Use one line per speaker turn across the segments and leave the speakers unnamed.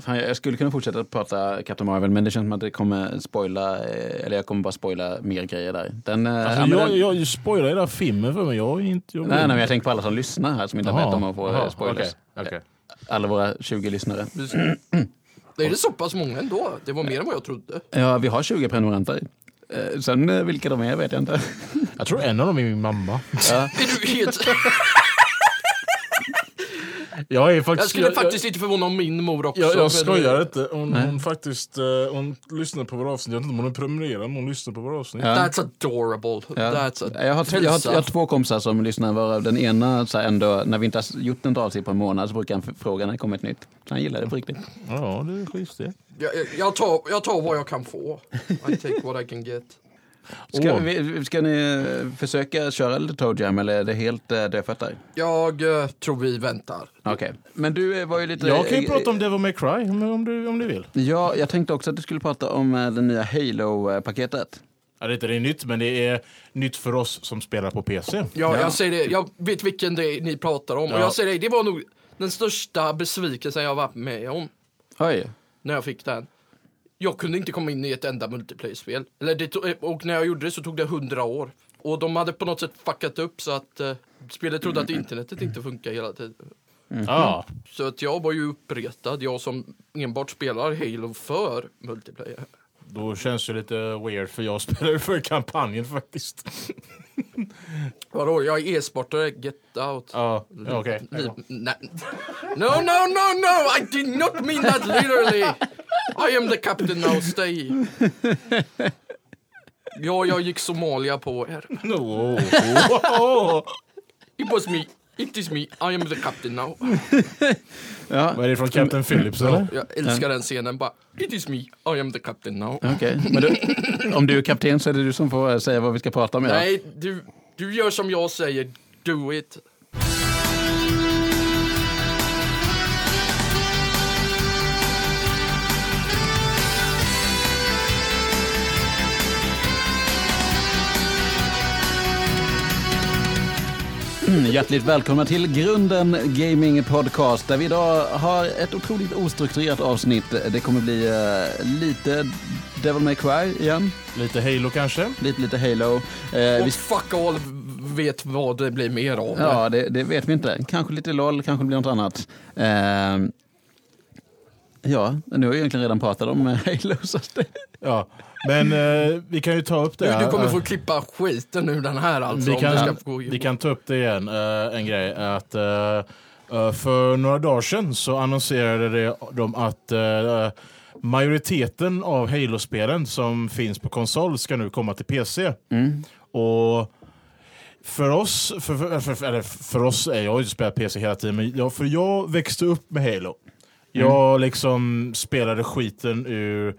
fan, jag skulle kunna fortsätta prata Captain Marvel men det känns som att det kommer spoila, eh, eller jag kommer bara spoila mer grejer där. Den, eh, ja,
Alltså,
men
jag,
den,
jag spoilar hela filmen för mig. Jag är inte... Jag
nej, nej, men jag tänker på alla som lyssnar här som inte
Jaha,
vet om att få
jaha,
eh, spoilers.
okej, okej.
Alla våra 20 lyssnare.
Det är det så pass många ändå. Det var mer än vad jag trodde.
Ja, vi har 20 prenumeranter. Eh, Sen eh, vilka de är vet jag inte.
jag tror en av dem är min mamma.
Är du helt...
Jag är faktiskt...
Jag skulle faktiskt inte förvåna om min mor också.
Jag, jag,
men- eh,
jag skojar inte. Hon, hon faktiskt eh, hon lyssnar på våra avsnitt. Jag vet inte om hon är prenumererad, men hon lyssnar på våra avsnitt.
That's adorable. That's a...
Jag, har, jag, har, jag har två kompisar som lyssnar varav den ena så här ändå, när vi inte har gjort något avsnitt på en månad så brukar han f- fråga när det kommer ett nytt. Så han gillar det på riktigt.
Ja, det är schysst det.
Jag, jag- jag, tar, jag tar vad jag kan få. I take what I can get.
Ska,
Åh.
vi, ska ni eh, försöka köra lite toe jam eller är det helt eh, dödfött där?
Jag eh, tror vi väntar.
Okej. Men du eh, var ju lite...
Jag kan ju
eh,
prata om Devil May Cry om, om, du, om du vill.
Ja, jag tänkte också att du skulle prata om eh, det nya Halo-paketet.
Ja, det är inte det är nytt, men det är nytt för oss som spelar på PC.
Ja, jag, säger det, jag vet vilken det är ni pratar om. Och
Ja.
jag säger det, det var nog den största besvikelsen jag varit med om
Oj.
när jag fick den. Jag kunde inte komma in i ett enda multiplayer-spel. Eller det to- och när jag gjorde det så tog det hundra år. Och de hade på något sätt fuckat upp så att eh, spelet trodde att internetet inte funkar hela tiden.
Ja.
Så att jag var ju uppretad, jag som enbart spelar Halo för multiplayer.
Då känns det lite weird, för jag spelar ju för kampanjen faktiskt.
Vadå, jag är e-sportare, get out.
Ja, ja, okej.
Li- nej. No, no, no, no! I did not mean that literally! I am the captain now, stay! Ja, jag gick Somalia på er.
No, oh, oh, oh.
It was me. It is me. I am the captain now.
Ja,
Vad är det från
Mm.
Captain Phillips eller?
Jag älskar den scenen bara. It is me. I am the captain now.
okej. Men du, om du är kapten så är det du som får eh, säga vad vi ska prata om idag.
Nej, du, du gör som jag säger. Do it.
Mm, Hjärtligt välkomna till Grunden Gaming Podcast där vi idag har ett otroligt ostrukturerat avsnitt. Det kommer bli eh, lite Devil May Cry igen,
Lite Halo kanske?
lite, lite Halo. Eh, vi,
Och fuck all vet vad det blir mer av.
ja, det, det vet vi inte. Kanske lite LOL, kanske det blir något annat. Eh, ja, nu har jag egentligen redan pratat om eh, Halo. Så att det,
Ja. Men eh, vi kan ju ta upp det
Du,
här.
du kommer få klippa skiten ur den här alltså.
vi,
om du ska
kan,
få gå
vi kan ta upp det igen, eh, en grej. Att, eh, eh, för några dagar sedan så annonserade det- de att eh, majoriteten av Halo-spelen som finns på konsol ska nu komma till PC. Och för oss, för, för, för, eller för oss, är jag har ju spelat PC hela tiden, men jag, för jag växte upp med Halo. Jag liksom spelade skiten ur,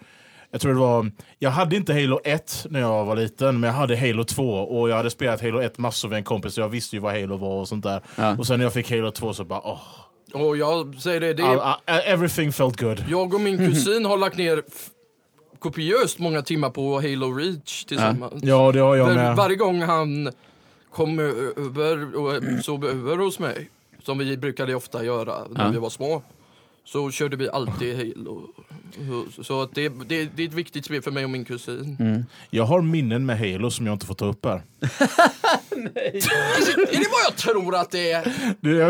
jag tror det var, jag hade inte Halo 1 när jag var liten, men jag hade Halo 2 och jag hade spelat Halo 1 massor med en kompis, så jag visste ju vad Halo var och sånt där. Och sen när jag fick Halo 2 så bara, åh.
Och jag säger det, det är,
all- all- everything felt good.
jag och min kusin har lagt ner f- kopiöst många timmar på Halo Reach tillsammans.
Ja, det har jag
Där
med.
varje gång han kom ö- över och sov över hos mig, som vi brukade ofta göra när
Ja.
vi var små, så körde vi alltid Halo. Så- Så att det, det, det är ett viktigt spel för mig och min kusin.
Mm.
Jag har minnen med Halo som jag inte får ta upp här.
Är, det, är det vad jag tror att det är?
Det,
Är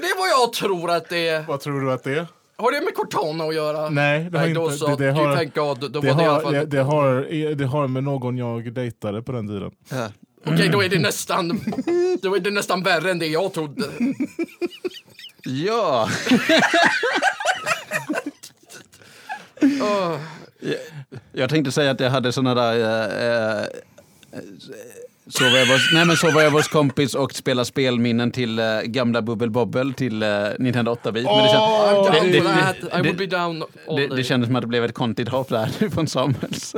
det vad jag tror att det är?
vad tror du att det är?
Har det med Cortana att göra?
Nej, det har
då
inte-
så,
det- det har-
du tänker, ja, då, då
Det
var det i alla
har,
fall.
det, det, har, det har med någon jag dejtade på den tiden.
Okej, då är det nästan, då är det nästan värre än det jag trodde.
ja,
Åh,
jag tänkte säga att jag hade såna där... eh, eh, Sova över, hos- nej men sova över hos kompis och spela spelminnen till eh, gamla Bubbel Bobbel till eh, Nintendo 8-bit. Men det, kän-
I'm down
det- det-
for that.
det- det-
I would be down all
det,
day.
det kändes som att det blev ett konstigt hopp där från Samuels,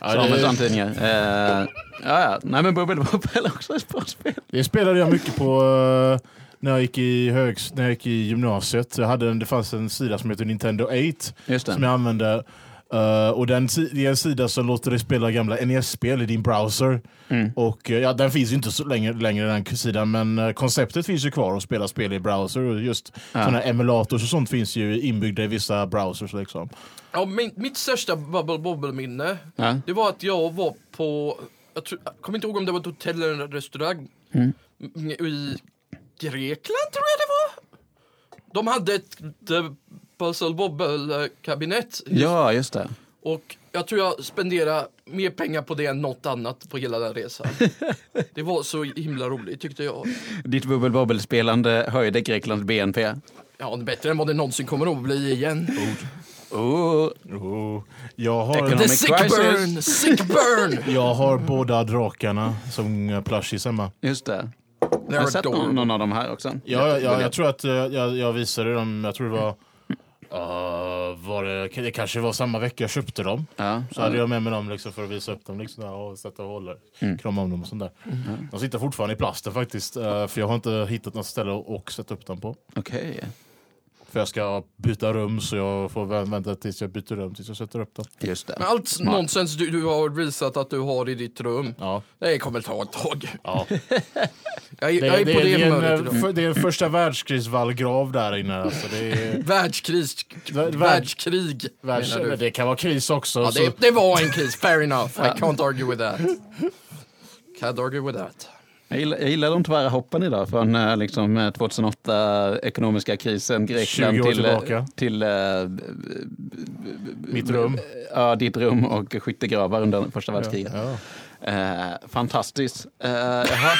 Samuels antydningar. Eh, ja, ja. Nej men Bubbel Bobbel är också ett bra spel.
Det spelade jag mycket på eh, när, jag gick i högs, när jag gick i gymnasiet. Jag hade en, det fanns en sida som hette Nintendo 8
Just det.
som jag använde. Eh, och den, si- det är en sida som låter dig spela gamla NES-spel i din browser.
Mm.
Och eh, ja, Den finns ju inte så länge, längre den k- sidan, men eh, konceptet finns ju kvar att spela spel i browser. Och just sådana här emulators och sånt finns ju inbyggda i vissa browsers. Liksom.
Ja, min, mitt största Bubble Bobble-minne,
Ja.
det var att jag var på, jag, tror, jag kommer inte ihåg om det var ett hotell eller en restaurang. Mm, I Grekland tror jag det var. De hade ett, ett Puzzle Bobble-kabinett.
Ja, just det.
Och jag tror jag spenderade mer pengar på det än något annat på hela den resan. det var så himla roligt tyckte jag.
Ditt bubbel-bobbel-spelande höjde Greklands BNP.
Ja, bättre än vad det någonsin kommer att bli igen.
Oh,
Oh, jag, har,
Ekonomi-
The
men
sick
crisis.
burn, sick burn!
jag har båda drakarna som eh, plushies hemma.
just det. Jag har
They're
sett någon,
adorable.
någon av de här också.
Ja, ja, jag tror att eh, jag, jag visade dem, jag tror det var, eh, var det, det kanske var samma vecka jag köpte dem.
Ja.
Så hade jag med mig dem liksom för att visa upp dem liksom, där, och sätta och hålla, krama om dem och sånt där. De sitter fortfarande i plasten faktiskt, eh, för jag har inte hittat något ställe att sätta upp dem på.
Okej.
För jag ska byta rum så jag får vä- vänta tills jag byter rum tills jag sätter upp dem.
Just det.
Men allt nonsens du, du har visat att du har i ditt rum,
Ja,
det kommer ta ett tag.
ja.
Jag, är-
Det,
jag
är,
är
det,
på det,
är, det, är
humöret
en,
idag.
eh, för, det är en första världskrigsvallgrav där inne. Alltså, det, är,
Världskris,
Värld-
världskrig
världs,
menar du?
det kan vara kris också.
Ja,
så-
det, det var en kris, fair enough. I can't argue with that. Can't argue with that.
Jag gillar, jag gillar de tvära hoppen idag från eh, liksom, eh, 2008 ekonomiska krisen,
20
Grekland
år
till, eh,
tillbaka.
till eh,
Mitt rum.
ja, ditt rum och skyttegravar under första världskriget.
Ja.
Eh, fantastiskt. Eh, jaha.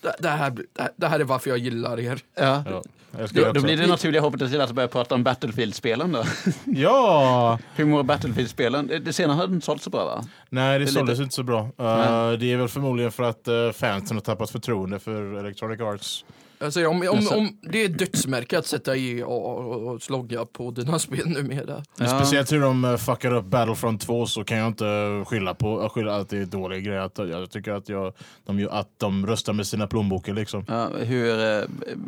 Det, det, här, blir- det, det här är varför jag gillar er.
ja.
Ja, jag ska
Då, då
också-
blir det naturliga hoppet till att börja prata om Battlefield-spelen då.
Ja!
Hur mår Battlefield-spelen? Det det senare har den sålt så bra va?
Nej, det,
lite-
såldes inte så bra. Uh, det är väl förmodligen för att uh, fansen har tappat förtroende för Electronic Arts.
Alltså, om, om,
Alltså-
om det är dödsmärke att sätta EA och, och slogga på dina spel numera.
Ja.
Speciellt hur de uh, fuckar upp Battlefront 2 så kan jag inte skylla på uh, skylla att det är dålig grej. Att, uh, jag tycker att, jag, de, gör- att de röstar med sina plånböcker liksom.
Ja, hur eh,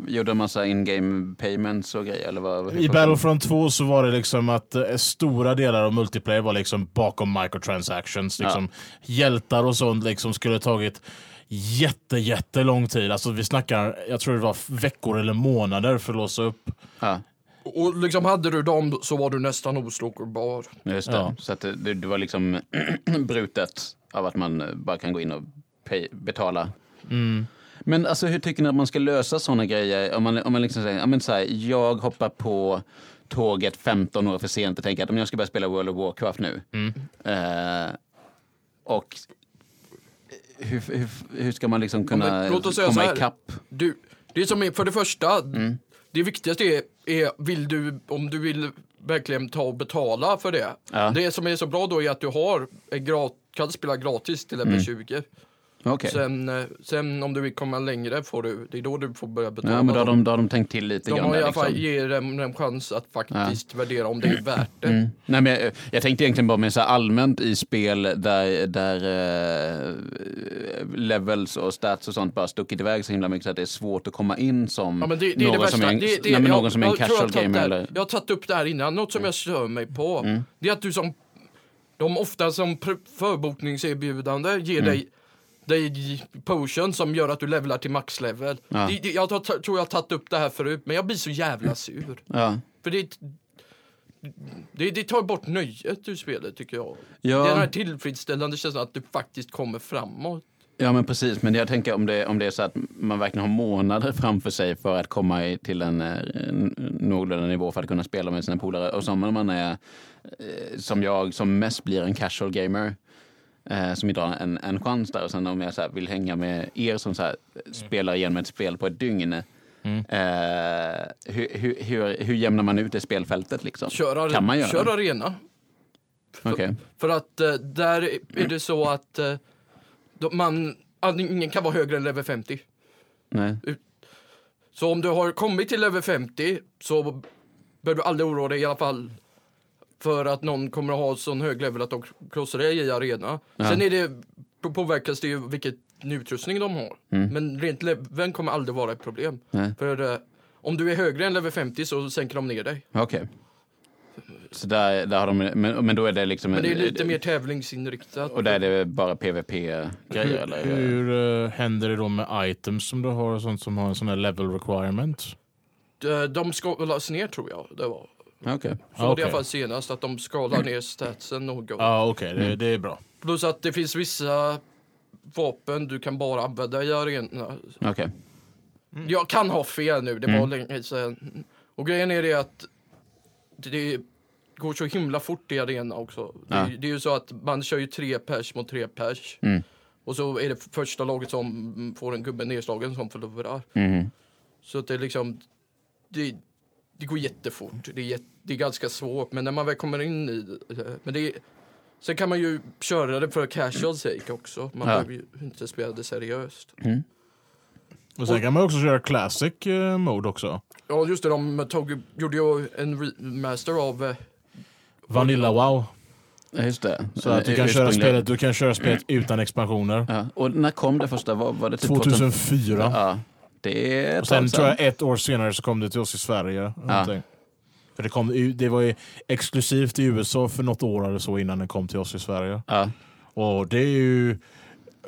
gjorde de massa in-game payments och grejer? Eller vad, hur-
I Battlefront 2 så var det liksom att eh, stora delar av multiplayer var liksom bakom microtransactions. Liksom, Hjältar och sånt liksom skulle tagit jätte, jätte lång tid. Alltså vi snackar, jag tror det var veckor eller månader för att låsa upp.
Ja,
Och, och liksom hade du dem så var du nästan oslagbar.
just det.
Ja.
Så att det, det var liksom brutet av att man eh, bara kan gå in och pay, betala.
Mm.
Men alltså, hur tycker ni att man ska lösa sådana grejer? Om man, om man liksom säger, ja, men så här, jag hoppar på tåget 15 år för sent och tänker att om jag ska börja spela World of Warcraft nu.
Mm.
Eh, och hur, hur, hur ska man liksom
men
kunna
låt oss säga så
komma
här.
ikapp?
Du, det som är för det första,
Mm.
det viktigaste är, är vill du, om du vill verkligen ta och betala för det.
Ja.
Det som är så bra då är att du har en gra- kan spela gratis till level 20.
Mm. Okej.
Sen, eh, sen om du vill komma längre får du, det är då du får börja betala.
Ja, men då har
dem.
de, då har de tänkt till lite
De
grann.
har i
där,
alla fall
liksom.
ger dem en chans att faktiskt värdera om det är värt det.
Nej, men jag, jag tänkte egentligen bara med så här allmänt i spel där, där eh, levels och stats och sånt bara stuckit iväg så himla mycket så att det är svårt att komma in som
Ja, men det, det är det
någon
värsta.
som är en-
det, det,
nej, men
jag-
någon som är en
jag tror jag
casual
har tagit
gamer.
det här-
Eller, Mm.
Jag har tagit upp det här innan, något som jag stör mig på. Det är att du som, de ofta som pr- förbokningserbjudande ger dig dig potion som gör att du levlar till maxlevel.
Mm. Ja.
Det- det- Jag tar- tar- tror jag har tagit upp det här förut, men jag blir så jävla sur.
ja.
För det, det, det tar bort nöjet ur spelet, tycker jag.
Ja.
Det är den här tillfredsställande känslan att du faktiskt kommer framåt.
ja, men precis. Men jag tänker om det, om det är så att man verkligen har månader framför sig för att komma i, till en, eh, en någorlunda nivå för att kunna spela med sina polare. Och som om man är, eh, som jag, som mest blir en casual gamer. eh, som inte har en, en chans där. Och sen om jag så här, vill hänga med er som så här, spelar igenom ett spel på ett dygn.
Mm.
Eh, hur, hur, hur, hur jämnar man ut det spelfältet liksom?
Kör, ar-
kan man göra?
kör arena.
Okej.
För att eh, där är det så att eh, de- man, ingen kan vara högre än level 50.
Nej.
Så om du har kommit till level 50 så behöver du aldrig oroa dig i alla fall för att någon kommer att ha sån hög level att de krossar dig i arena.
Ja.
Sen är det, på- påverkas det ju vilket utrustning de har. Men rent leveln kommer aldrig vara ett problem.
Nej.
För eh, om du är högre än level 50 så sänker de ner dig.
Okej. Så där, där har de, men, men då är det liksom...
Men det är lite mer tävlingsinriktat.
Och där är det bara PVP-grejer eller?
Hur eh, händer det då med items som du har och sånt som har en sån här level requirement?
De- Eh, De skalas ner tror jag det var.
Okej.
Ah,
Så var det i alla fall senast att de skalar ner statsen något.
Ja, Ah, okej, det,
Mm.
det är bra.
Plus att det finns vissa vapen du kan bara använda i arenorna.
Okej.
Jag kan ha fel nu, det var
Mm.
länge sedan. Och grejen är det att det går så himla fort i arena också.
Ja.
Det, det är ju så att man kör ju tre pers mot tre pers.
Mm.
Och så är det första laget som får en gubbe nedslagen som förlorar.
Mhm.
Så att det är liksom, det, det går jättefort. Det är, jätt, det är ganska svårt, men när man väl kommer in i det. Men det är, sen kan man ju köra det för casual sake också. Man
Ja.
behöver ju inte spela det seriöst.
Och sen kan man också köra classic eh, mode också.
Ja, just det, de tog, gjorde ju en remaster av eh,
Vanilla wow.
Ja, Just det.
Så att du kan,
Eh, Ursprungliga-
köra spelet, du kan köra spelet utan expansioner.
Ja. Och när kom det första? Var, var det typ
2004.
Ja. Det är ett
Och sen
tag
tror
sedan.
jag ett år senare så kom det till oss i Sverige. någonting. För det, kom, ju- det var ju exklusivt i USA för något år eller så innan det kom till oss i Sverige.
Ja.
Och det är ju,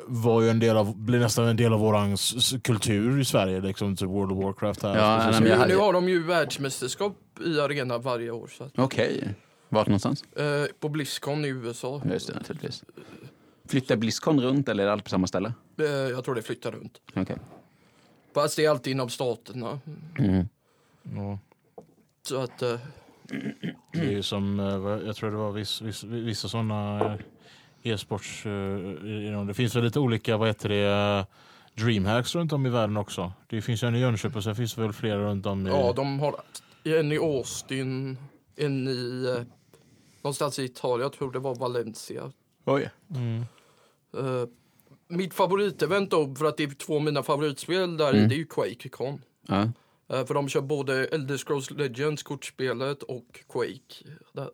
var ju en del av, blev nästan en del av våran s- s- kultur i Sverige, liksom typ World of Warcraft här.
Ja,
Så-
nej,
så-
men
nu,
jag-
nu har de ju världsmästerskap i arena varje år. Så att,
Okej. Vart någonstans?
eh, på Blizzcon i USA.
Ja, Just det, naturligtvis. Flyttar Blizzcon runt eller är det allt på samma ställe?
Eh, jag tror det flyttar runt.
Okej.
Fast det är alltid inom staterna.
Mm.
ja.
Så att, eh,
Det är ju som, eh, vad- jag tror det var viss, viss, vissa sådana e-sports... eh, i- i- Det finns väl lite olika, vad heter det, eh, Dreamhacks runt om i världen också. Det finns ju en i Jönköping och sen finns det väl flera runt om i...
Mm.
ja, de har en i Austin, en i eh, någonstans i Italien, jag tror det var Valencia.
Oj.
Mm.
Eh, mitt favoritevent då, för att det är två av mina favoritspel där,
Mm.
det är ju Quake-con.
Ja.
Eh, För de kör både Elder Scrolls Legends, kortspelet och Quake. Där.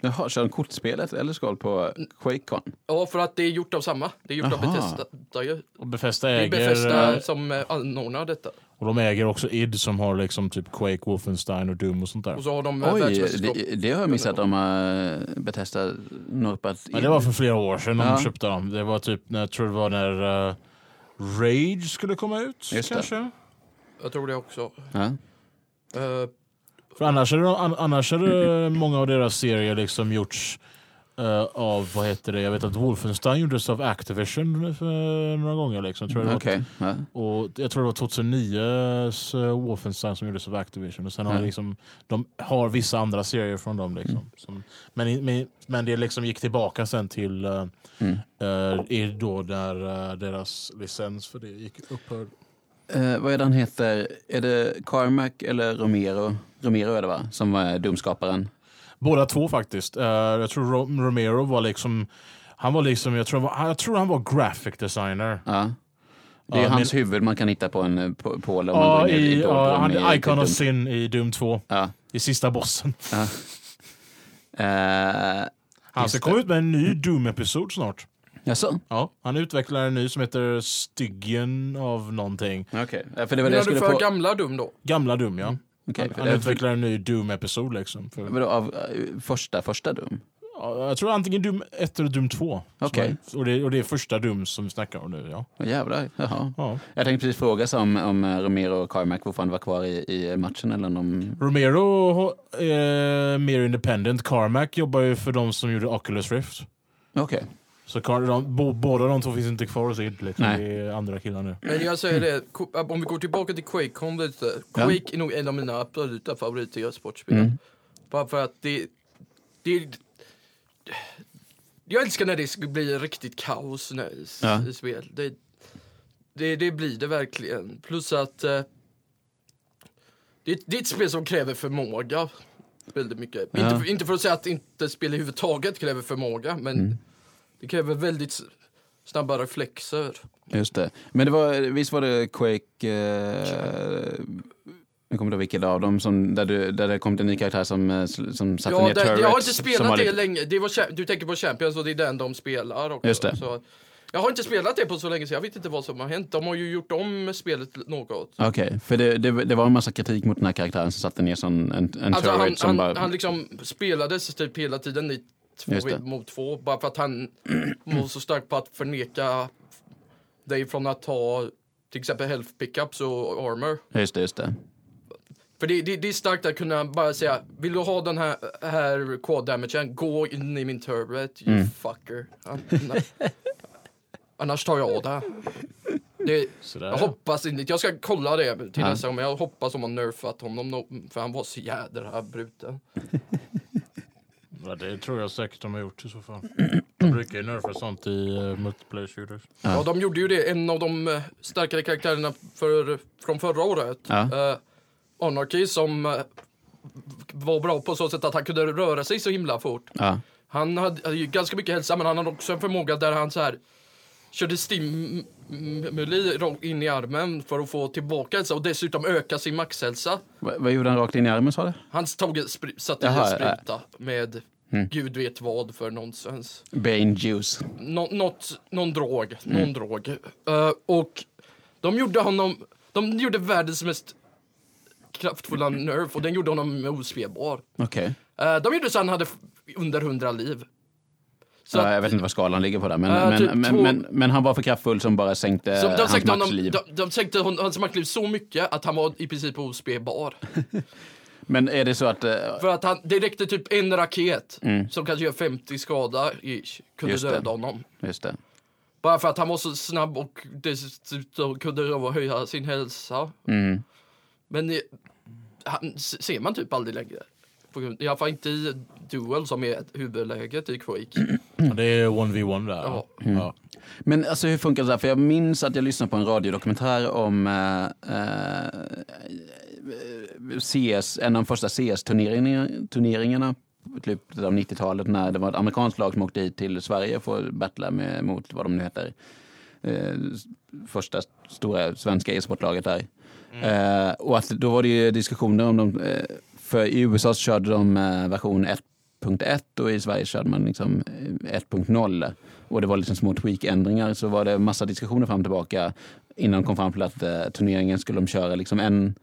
Jaha, kör de kortspelet eller skål på Quakecon?
Ja, för att det är gjort av samma. Det är gjort av
Aha.
Bethesda. ju.
Och Befästa
Det
äger...
är Bethesda
eh,
som eh, anordnar detta.
Och de äger också id som har liksom typ Quake, Wolfenstein och Doom och sånt där.
Och så har de eh,
Oj,
världsmästerskap.
det, det har jag missat. De har Bethesda norpat
Men det var för flera år sedan
Ja.
de köpte dem. Det var typ, när, jag tror det var när eh, Rage skulle komma ut
Just det.
kanske.
Jag tror det också.
Ja.
Eh,
För annars hade, de, an- annars hade eh, många av deras serier liksom gjorts eh, av, vad heter det, jag vet att Wolfenstein gjordes av Activision för några gånger. Liksom, tror jag det var.
Okej. Ja.
Och jag tror det var 2009 s, eh, Wolfenstein som gjordes av Activision. Och sen har
Ja.
de liksom, de har vissa andra serier från dem. Liksom, som, men, i- men, men det liksom gick tillbaka sen till eh,
Mm.
eh, är då där eh, deras licens för det gick upphörde.
Eh, vad är det han heter? Är det Carmack eller Romero? Romero är det va? Som var domskaparen.
Båda två faktiskt. Eh, jag tror Ro- Romero var liksom, han var liksom, jag tror han var, han- jag tror han var graphic designer.
Ja. Det är
Ja,
hans huvud man kan hitta på en eh, på- pål om man
Ja,
går in
i,
i, doldrum
ja, han
i
är Icon of
Doom.
Sin i Doom 2,
Ja.
i sista bossen.
ja. Eh,
Han ska
Just
komma ut med en ny Doom-episod snart.
Jaså?
Ja, han utvecklar en ny som heter Styggen av någonting.
Okej. Ja, för det var det
menar
jag
du
skulle
för
få...
gamla Doom då?
Gamla
Mm.
Doom, ja.
Okej, för
han
det-
utvecklar en ny Doom-episod liksom. För,
Vadå, av eh, första, första Doom?
ja, jag tror antingen Doom 1 eller Doom 2. som
Okej.
är- Och, det, och det är första Doom som vi snackar om nu, ja.
Åh, jävlar. Jaha.
ja.
Jag tänkte precis fråga så om, om eh, Romero och Carmack fortfarande var kvar i, i matchen eller om de...
Romero är mer independent. Carmack jobbar ju för de som gjorde Oculus Rift.
Okej.
Så Car- de, bo, båda de två finns inte kvar hos id. Liksom.
Nej.
Det är andra killar nu.
Men jag säger det, ko- om vi går tillbaka till Quake, kom lite.
Ja.
Quake är nog en av mina absoluta favoriter i sportspel.
Mm.
Bara för att det, det... Jag älskar när det sk- blir riktigt kaos när, i s-
Ja.
i spel. Det, det, det blir det verkligen. Plus att... Eh, det, det är ett spel som kräver förmåga. Väldigt mycket.
Ja.
Inte, inte för att säga att inte spel överhuvudtaget kräver förmåga, men
Mm.
det kräver väldigt s- snabba reflexer.
Just det. Men det var, visst var det Quake... Eh, jag kommer inte ihåg vilken av dem, som, där, du, där det kom till en ny karaktär som, eh, sl- som satte
Ja,
ner
det,
turrets.
jag har inte
som var
spelat det
lite-
länge. Det var, cha- du tänker på Champions och det är den de spelar också.
Just det.
Så, Jag har inte spelat det på så länge så jag vet inte vad som har hänt. De har ju gjort om spelet något.
Okej, för det, det, det var en massa kritik mot den här karaktären som satte ner sån, en, en
Alltså
turret
han,
som
han,
bara...
han liksom spelades typ hela tiden i
Just det.
två mot två. Bara för att han var så stark på att förneka dig från att ta till exempel health pickups och armor.
Just det, just det.
För det, det, det är starkt att kunna bara säga, vill du ha den här, här quad damagen, gå in i min turret,
Mm.
you fucker. Annars, annars tar jag av det. här. det
Sådär.
jag hoppas inte, jag ska kolla det till
Ja.
nästa gång, men jag hoppas de har nerfat honom, no- för han var så jädra här bruten.
Ja, det tror jag säkert de har gjort i så fall. De brukar ju nerfa sånt i eh, multiplayer shooters.
Ja.
Ja, de gjorde ju det, en av de eh, starkare karaktärerna för, från förra året.
Ja.
Eh, Anarchy som eh, var bra på så sätt att han kunde röra sig så himla fort.
Ja.
Han hade hade ju ganska mycket hälsa, men han hade också en förmåga där han så här körde stimuli rakt in i armen för att få tillbaka hälsa och dessutom öka sin maxhälsa.
Vad, vad gjorde han rakt in i armen sa du?
Han tog en spr- satte i
Jaha, Mm.
en spruta med gud vet vad för nonsens.
Bane juice.
Nå- något, någon drog,
Mm.
någon drog. Eh, och de gjorde honom, de gjorde världens mest kraftfulla nerf och den gjorde honom ospelbar.
Okej.
Eh, de gjorde så han hade f- under 100 liv. Så
Ja, jag vet inte vad skalan ligger på där, men,
Ja,
men,
typ
men,
två-
men, men han var för kraftfull som bara sänkte
Så de,
Eh, hans
sänkte honom,
maxliv.
de, de sänkte hon, hans maktliv så mycket att han var i princip ospelbar.
Men är det så att... eh,
För att han, det räckte typ en raket som kanske gör 50 skada ish, kunde
Mm. Just det.
döda honom.
Just det.
Bara för att han var så snabb och dessutom kunde höja sin hälsa.
Mm.
Men eh, han s- ser man typ aldrig längre. På grund- I alla fall inte i Duel som är huvudläget i Quake.
Det är 1v1 där.
Ja.
Ja.
Men alltså hur funkar det där? För jag minns att jag lyssnade på en radiodokumentär om eh, eh, CS, en av de första CS-turneringarna, typ av 90-talet, när det var ett amerikanskt lag som åkte dit till Sverige för att battla med, mot vad de nu heter. Eh, första stora svenska e-sportlaget där. Eh, och att då var det ju diskussioner om de, eh, för i USA så körde de eh, version 1.1 och i Sverige körde man liksom eh, 1.0 och det var liksom små tweakändringar så var det massa diskussioner fram och tillbaka innan de kom fram till att eh, turneringen skulle de köra liksom en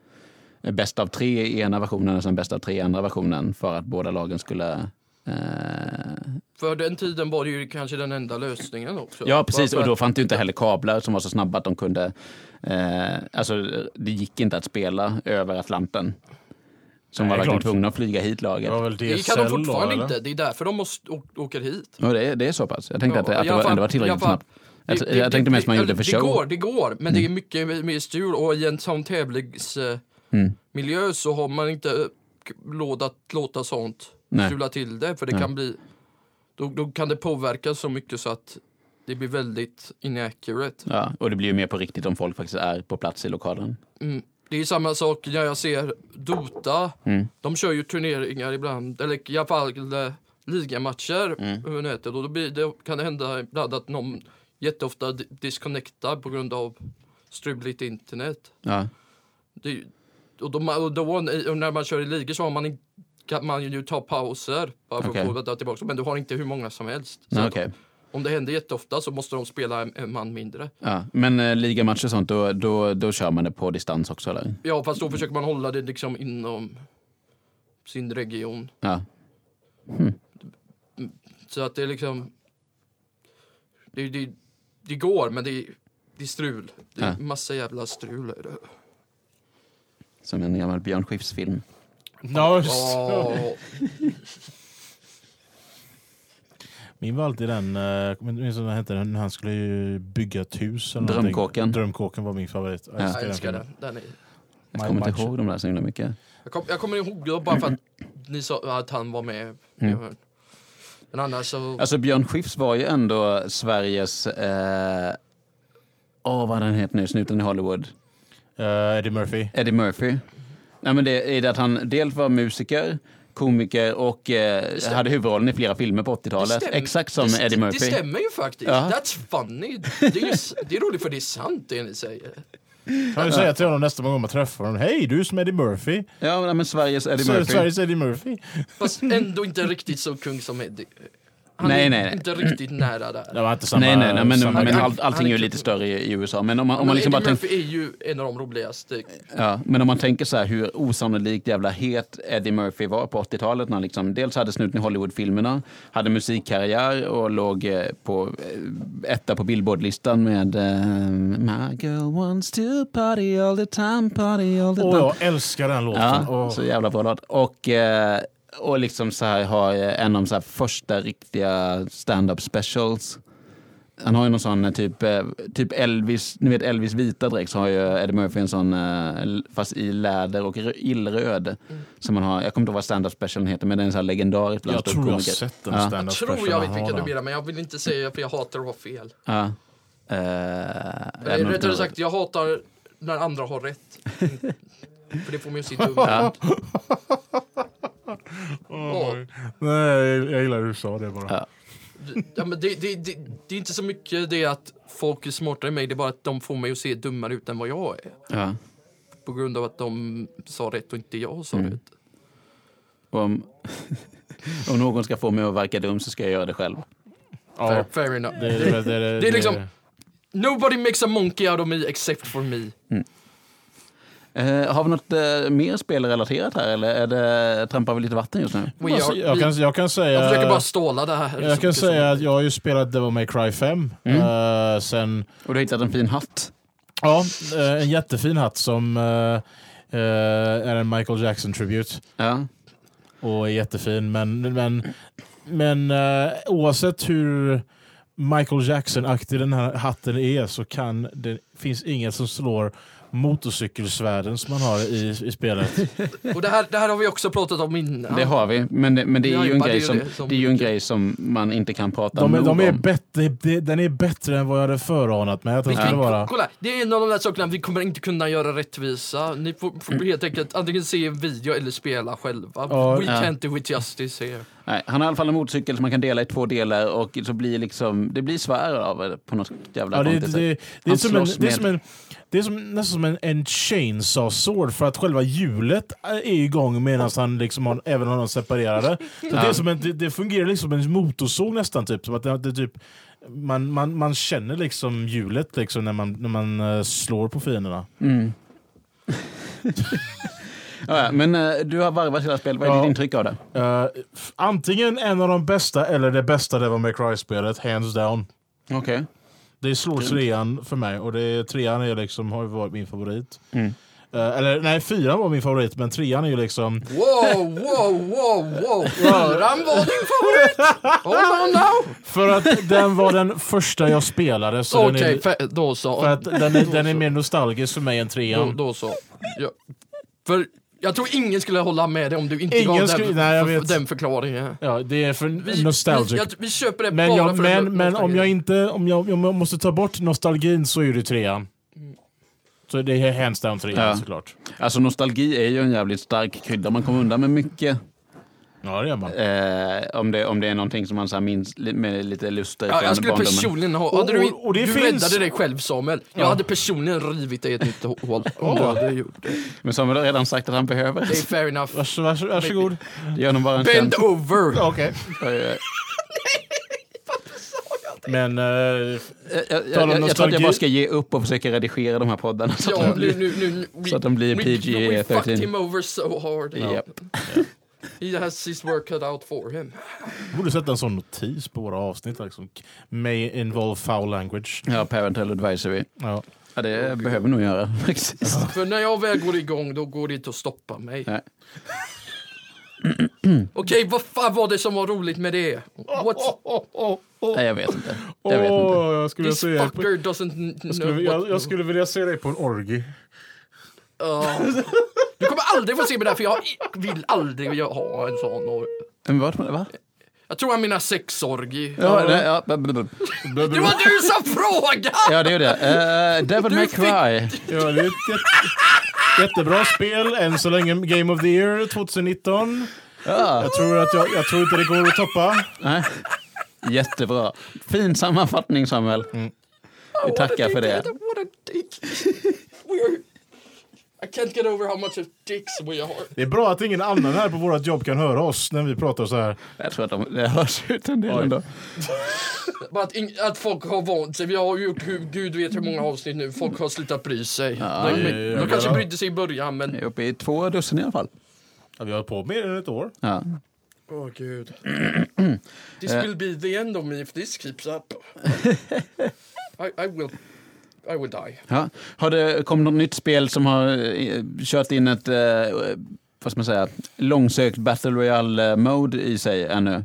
eh, bäst av tre i ena versionen och sen bäst av tre i andra versionen för att båda lagen skulle eh,
För den tiden var det ju kanske den enda lösningen också.
Ja, precis.
Bara
Och
för
då
att-
fanns det ju inte heller kablar som var så snabba att de kunde... Eh, alltså, det gick inte att spela över Atlanten. Som
Nej,
var verkligen
klart.
tvungna att flyga hit
Det
laget.
var väl
det
DSL
kan de
då,
fortfarande
eller?
inte. Det är därför de måste å- åker hit.
Och det, är- det är så pass. Jag tänkte
Ja,
att, det-
i
att det
alla
var,
fall-
ändå var
i
tillräckligt
alla fall-
snabbt. Jag,
Det-
jag tänkte mest man
det-
gjorde för
det
show.
går, det går. Men det är mycket mer strul och i en sån tävlingsmiljö
Mm.
miljö så har man inte eh, k- låt att låta sånt
Nej.
strula till det. För det
Nej.
kan bli, då, då kan det påverka så mycket så att det blir väldigt inaccurate.
Ja, och det blir ju mer på riktigt om folk faktiskt är på plats i lokalen.
Mm. Det är samma sak när jag ser Dota.
Mm.
De kör ju turneringar ibland, eller i alla fall eh, ligamatcher
Mm.
över nätet. Och då blir det, kan det hända ibland att någon jätteofta di- disconnectar på grund av struligt internet.
Ja.
Det, är ju- och, då, man- och då, och när man kör i ligor så har man, in, kan man ju ta pauser bara för
Okej.
att få detta tillbaka. Men du har inte hur många som helst. Så
Ja,
att
okej.
om det händer jätteofta så måste de spela en, en man mindre.
ja. Men eh, ligamatcher och sånt, då, då, då kör man det på distans också, eller?
Ja, fast då försöker man hålla det liksom inom sin region.
Ja.
Så att det är liksom... Det, det, det går, men det, är- det är strul. Det är
Ja.
massa jävla strul. är det.
Som en gammal Björn Skifs-film.
No,
Ja,
Min var alltid den, eh, kommer inte minns vad den hette, den- han skulle ju bygga ett hus. Eller
Drömkåken.
någonting. Drömkåken var min favorit. Ja,
jag älskar den. den är,
Jag
My
kommer inte
Match.
ihåg de där så himla mycket.
jag, kom, jag kommer ihåg det bara för att ni sa att han var
Mm.
med. Men annars så...
Alltså Björn Skifs var ju ändå Sveriges... eh, Åh, vad den heter nu, snuten i Hollywood.
Eh, Eddie Murphy.
Eddie Murphy. Nej, men det är det att han dels var musiker, komiker och eh,
stämmer.
hade huvudrollen i flera filmer på 80-talet.
stämmer-
Exakt som
det st-
Eddie Murphy.
Det stämmer ju faktiskt.
Ja.
That's funny. Det är, ju, s- det är roligt för det är sant det ni säger.
Kan du säga till honom nästa gång man träffar honom, hej du som Eddie Murphy.
Ja, nej, men Sveriges Eddie
Sver-
Murphy.
Sveriges Eddie Murphy.
Fast ändå inte riktigt så kung som Eddie. han
Nej,
är
nej, nej.
inte riktigt nära där.
Det var inte samma...
nej, nej, nej, men,
samma
men
grej.
all, allting är ju lite större i, i USA. Men om man, om man liksom bara
Eddie
tänker...
Murphy är ju en av de
Eh,
roligaste.
Ja, men om man tänker så här hur osannolikt jävla het Eddie Murphy var på 80-talet när han liksom dels hade snuten i Hollywood-filmerna, hade musikkarriär och låg eh, på eh, etta på Billboard-listan med eh, My girl wants to party all the time, party all the
Åh,
time.
jag älskar den låten.
Ja,
Åh.
så jävla bra låt. Och, eh, och liksom så här har eh, en av de så här första riktiga stand-up specials. Han har ju någon sån eh, typ, eh, typ Elvis, ni vet Elvis vita dräkt så har ju Eddie Murphy en sån eh, l- fast i läder och rö- illröd.
Mm.
Som man har, jag kommer inte ihåg vad stand-up specialen heter men den är så här legendarisk bland
jag tror jag har
ståuppkomiker.
sett den
Ja.
stand-up
Tror
specialen
jag
han
vet vilken
har
du
där.
menar, men jag vill inte säga för jag hatar att vara fel.
Ja. Eh,
Eh,
Eller
även om
Rättare
det-
sagt, jag hatar när andra har rätt. Mm. för det får mig att sitta undan. Ja.
Nej, jag gillar hur du sa det bara.
Ja.
Ja, men det, det, det, det är inte så mycket det att folk är smartare än mig, det är bara att de får mig att se dummare ut än vad jag är.
Ja.
På grund av att de sa rätt och inte jag sa
Mm.
rätt.
Om, om någon ska få mig att verka dum så ska jag göra det själv.
Fair,
Ja,
fair enough.
det, det, det,
Det är liksom- Nobody makes a monkey out of me except for me.
Eh, har vi något eh, mer spelrelaterat här eller är det, trampar vi lite vatten just nu?
Och jag,
jag, kan, jag kan säga...
jag försöker bara ståla det här.
Eh, Jag
så
kan
mycket
säga
som-
att jag har ju spelat Devil May Cry 5.
Mm.
eh, sen,
Och du har hittat en fin hatt.
ja, eh, en jättefin hatt som eh, eh, är en Michael Jackson-tribute.
Ja.
och är jättefin. Men, men, men eh, oavsett hur Michael Jackson-aktig den här hatten är så kan det finns inget som slår motorcykelsvärden som man har i, i spelet.
Och det här, det här har vi också pratat om innan.
Det har vi, men det, men det är
Ja,
ju en,
bara det
grej
är
som,
det som-
det är ju en grej som man inte kan prata
De, är-
nog
de är
om.
bättre, de, den är bättre än vad jag hade föranat mig att den
Vi
skulle
kan,
vara.
Kolla, det är en av de där sakerna vi kommer inte kunna göra rättvisa. Ni får,
Mm.
får helt enkelt antingen se en video eller spela själva.
Ja.
We
Ja.
can't do it justice here.
Nej, han har i alla fall en motorcykel som man kan dela i två delar och så blir liksom, det blir svär av det på något jävla
Ja, det, det,
konstigt sätt.
det, det, är
Han
som en,
slåss
det är
med-
som en det är som, nästan som en, en chainsaw sword för att själva hjulet eh, är igång medan han liksom har, även om de separerade. Så det, är som en, det, det fungerar liksom som en motorsåg nästan, typ. Som att det, det, typ man, man, man känner liksom hjulet liksom när, man, när man eh, slår på fienderna.
Mm. ja, ja, men eh, du har varvat hela spelet, vad är
Ja.
ditt intryck av det?
Eh, f- antingen en av de bästa eller det bästa Devil May Cry-spelet, hands down.
Okej.
Det slår trean för mig och det, trean är liksom, har ju varit min favorit.
Mm.
Eh, eller nej, fyran var min favorit men trean är ju liksom...
Wow, wow, wow, wow. Fyran var din favorit! Oh no, no!
För att den var den första jag spelade. Så den
Okej,
är,
fe- då så.
för att den är, den är mer nostalgisk för mig än
Då,
trean.
då så. Ja. För jag tror ingen skulle hålla med dig om du inte
Ingen
gav
skulle-
den,
nej, jag
för,
vet.
den förklaringen.
Ja, det är för
Vi,
nostalgic.
vi, jag, vi köper det
men
bara
jag,
för
men, men
nostalgi.
om jag inte om jag, om jag måste ta bort nostalgin så är det trean. Så det är hands down trean
Ja.
såklart.
Alltså nostalgi är ju en jävligt stark krydda, man kommer undan med mycket.
Ja, det gör man.
Eh, om, det, om det är någonting som man så här minns li- med lite luster
Ja, jag
från
skulle
barndomen.
personligen ha... Hade du,
Och- och det
du
finns-
räddade dig själv Samuel. Jag hade personligen rivit dig i ett nytt hål om du hade gjort det.
Men Samuel har redan sagt att han behöver.
Det är fair enough.
Vars, vars, varsågod.
Gör honom bara en
Bend
tjänst.
over!
Okej.
Eh, jag-
Men eh,
jag- jag-
Tala om
Jag jag tror att jag
nostalgi.
bara ska ge upp och försöka redigera de här poddarna. Så att
Ja,
de
nu,
blir...
nu, nu, we-
så att de blir
we-
PG-13.
We fucked him over so hard.
Japp.
He has his work cut out for him.
borde sätta en sån notis på våra avsnitt. Liksom. May involve foul language.
Ja, parental advisory.
Ja.
Ja, det behöver vi nog göra faktiskt.
För när jag väl går igång då går det inte att stoppa mig.
Nej.
Okej, vad fan var det som var roligt med det? What's...
Nej, jag vet inte.
Åh,
Jag vet inte.
jag skulle
This
säga...
fucker doesn't kn- know
Jag skulle,
what-
jag, jag skulle vilja se dig på en orgie.
Ja. Du kommer aldrig få se mig där för jag vill aldrig ha en sån. or-
Men vart var det? Va?
Jag tror han menar sexorgi.
Ja, det, ja, b- b- b-
Det var du som frågade!
ja, det gjorde jag. Eh, Devil
Du
May
fick-
Cry.
Ja, det är ett jätte- jättebra spel än så länge. Game of the year 2019.
Ja,
Jag tror, att jag, jag tror inte det går att toppa.
nej. Jättebra. Fin sammanfattning,
Mm.
Samuel. Vi tackar för det.
What a dick. We're... I can't get over how much of dicks we are.
Det är bra att ingen annan här på vårt jobb kan höra oss när vi pratar så här.
Jag tror att de, det hörs ut en del
Oj.
ändå.
Bara att, ing- att folk har vant sig. Vi har ju gjort hur, gud vet hur många avsnitt nu. Folk har slutat bry sig.
Ja,
de,
ja,
de
ja,
kanske
ja.
brydde sig i början men...
Vi är uppe i två dussin i alla fall.
Ja, vi har hållit på mer än ett år.
Ja.
Åh oh, gud. This
Eh.
will be the end of me if this keeps up. I, I will... I will die.
Ja. Har det kommit något nytt spel som har eh, kört in ett eh, vad ska man säga, långsökt Battle Royale-mode i sig ännu?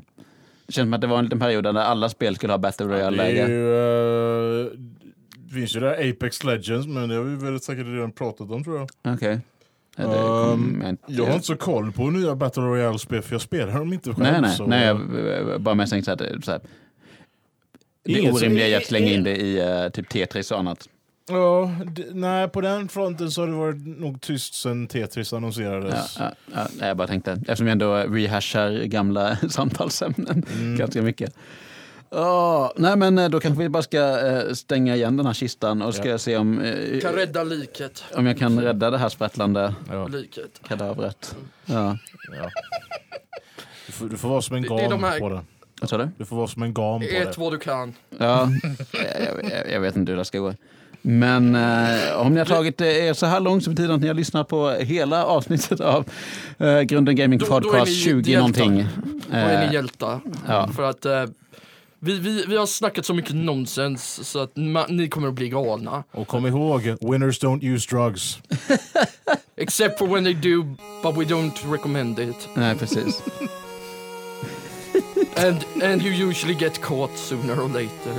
Det känns som att det var en liten period där alla spel skulle ha Battle
det är
Royale-läge.
ju... eh, det finns ju det här Apex Legends, men det har vi väl säkert redan pratat om tror jag.
Okej. Ja, det kom-
Ehm,
men-
Jag har inte så koll på nya Battle Royale-spel, för jag spelar dem inte själv.
Nej, nej,
så...
nej jag eh, bara mest tänkte så här, så här. Det
Inget-
orimliga i att slänga in det i eh, typ Tetris och annat.
Ja, d- nej, på den fronten så har det varit nog tyst sen Tetris annonserades.
Ja, ja, ja, nej, jag bara tänkte, eftersom jag ändå rehashar gamla samtalsämnen
Mm.
ganska mycket. Ja, nej men eh, då kanske vi bara ska eh, stänga igen den här kistan och ska
Ja.
se om, eh,
Kan rädda liket.
om jag kan rädda det här sprattlande
Ja,
Liket.
kadavret. Ja.
ja. Du, får, du får vara som en
Det- det är
gam
de här-
på det.
Vad sa du?
Du får vara som en gam på
Ät
det.
vad du kan.
Ja, jag, jag, jag vet inte hur det ska gå. Men eh, om ni har tagit eh, er så här långt så betyder det att ni har lyssnat på hela avsnittet av eh, Grunden Gaming
Då- då är ni
Podcast 20
hjältar.
någonting.
Då är
Eh,
ni hjältar.
ja.
För att eh, vi, vi, vi har snackat så mycket nonsens så att ma- ni kommer att bli galna.
Och kom ihåg, winners don't use drugs.
Except for when they do, but we don't recommend it.
Nej, precis.
And, and you usually get caught sooner or later.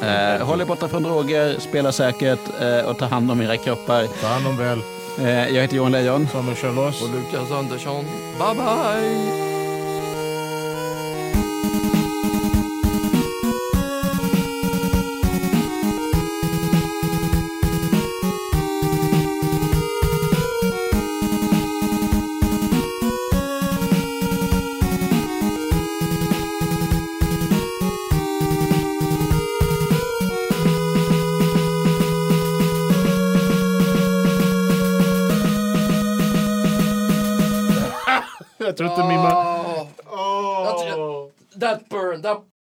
Ja. Eh, håll er borta från droger, spela säkert eh, och ta hand om era kroppar.
Ta hand om väl,
Eh, jag heter Johan Lejon.
Samuel Kjellås.
Och Lukas Andersson, bye bye!
Jag tror inte min man...
Oh, that burn, that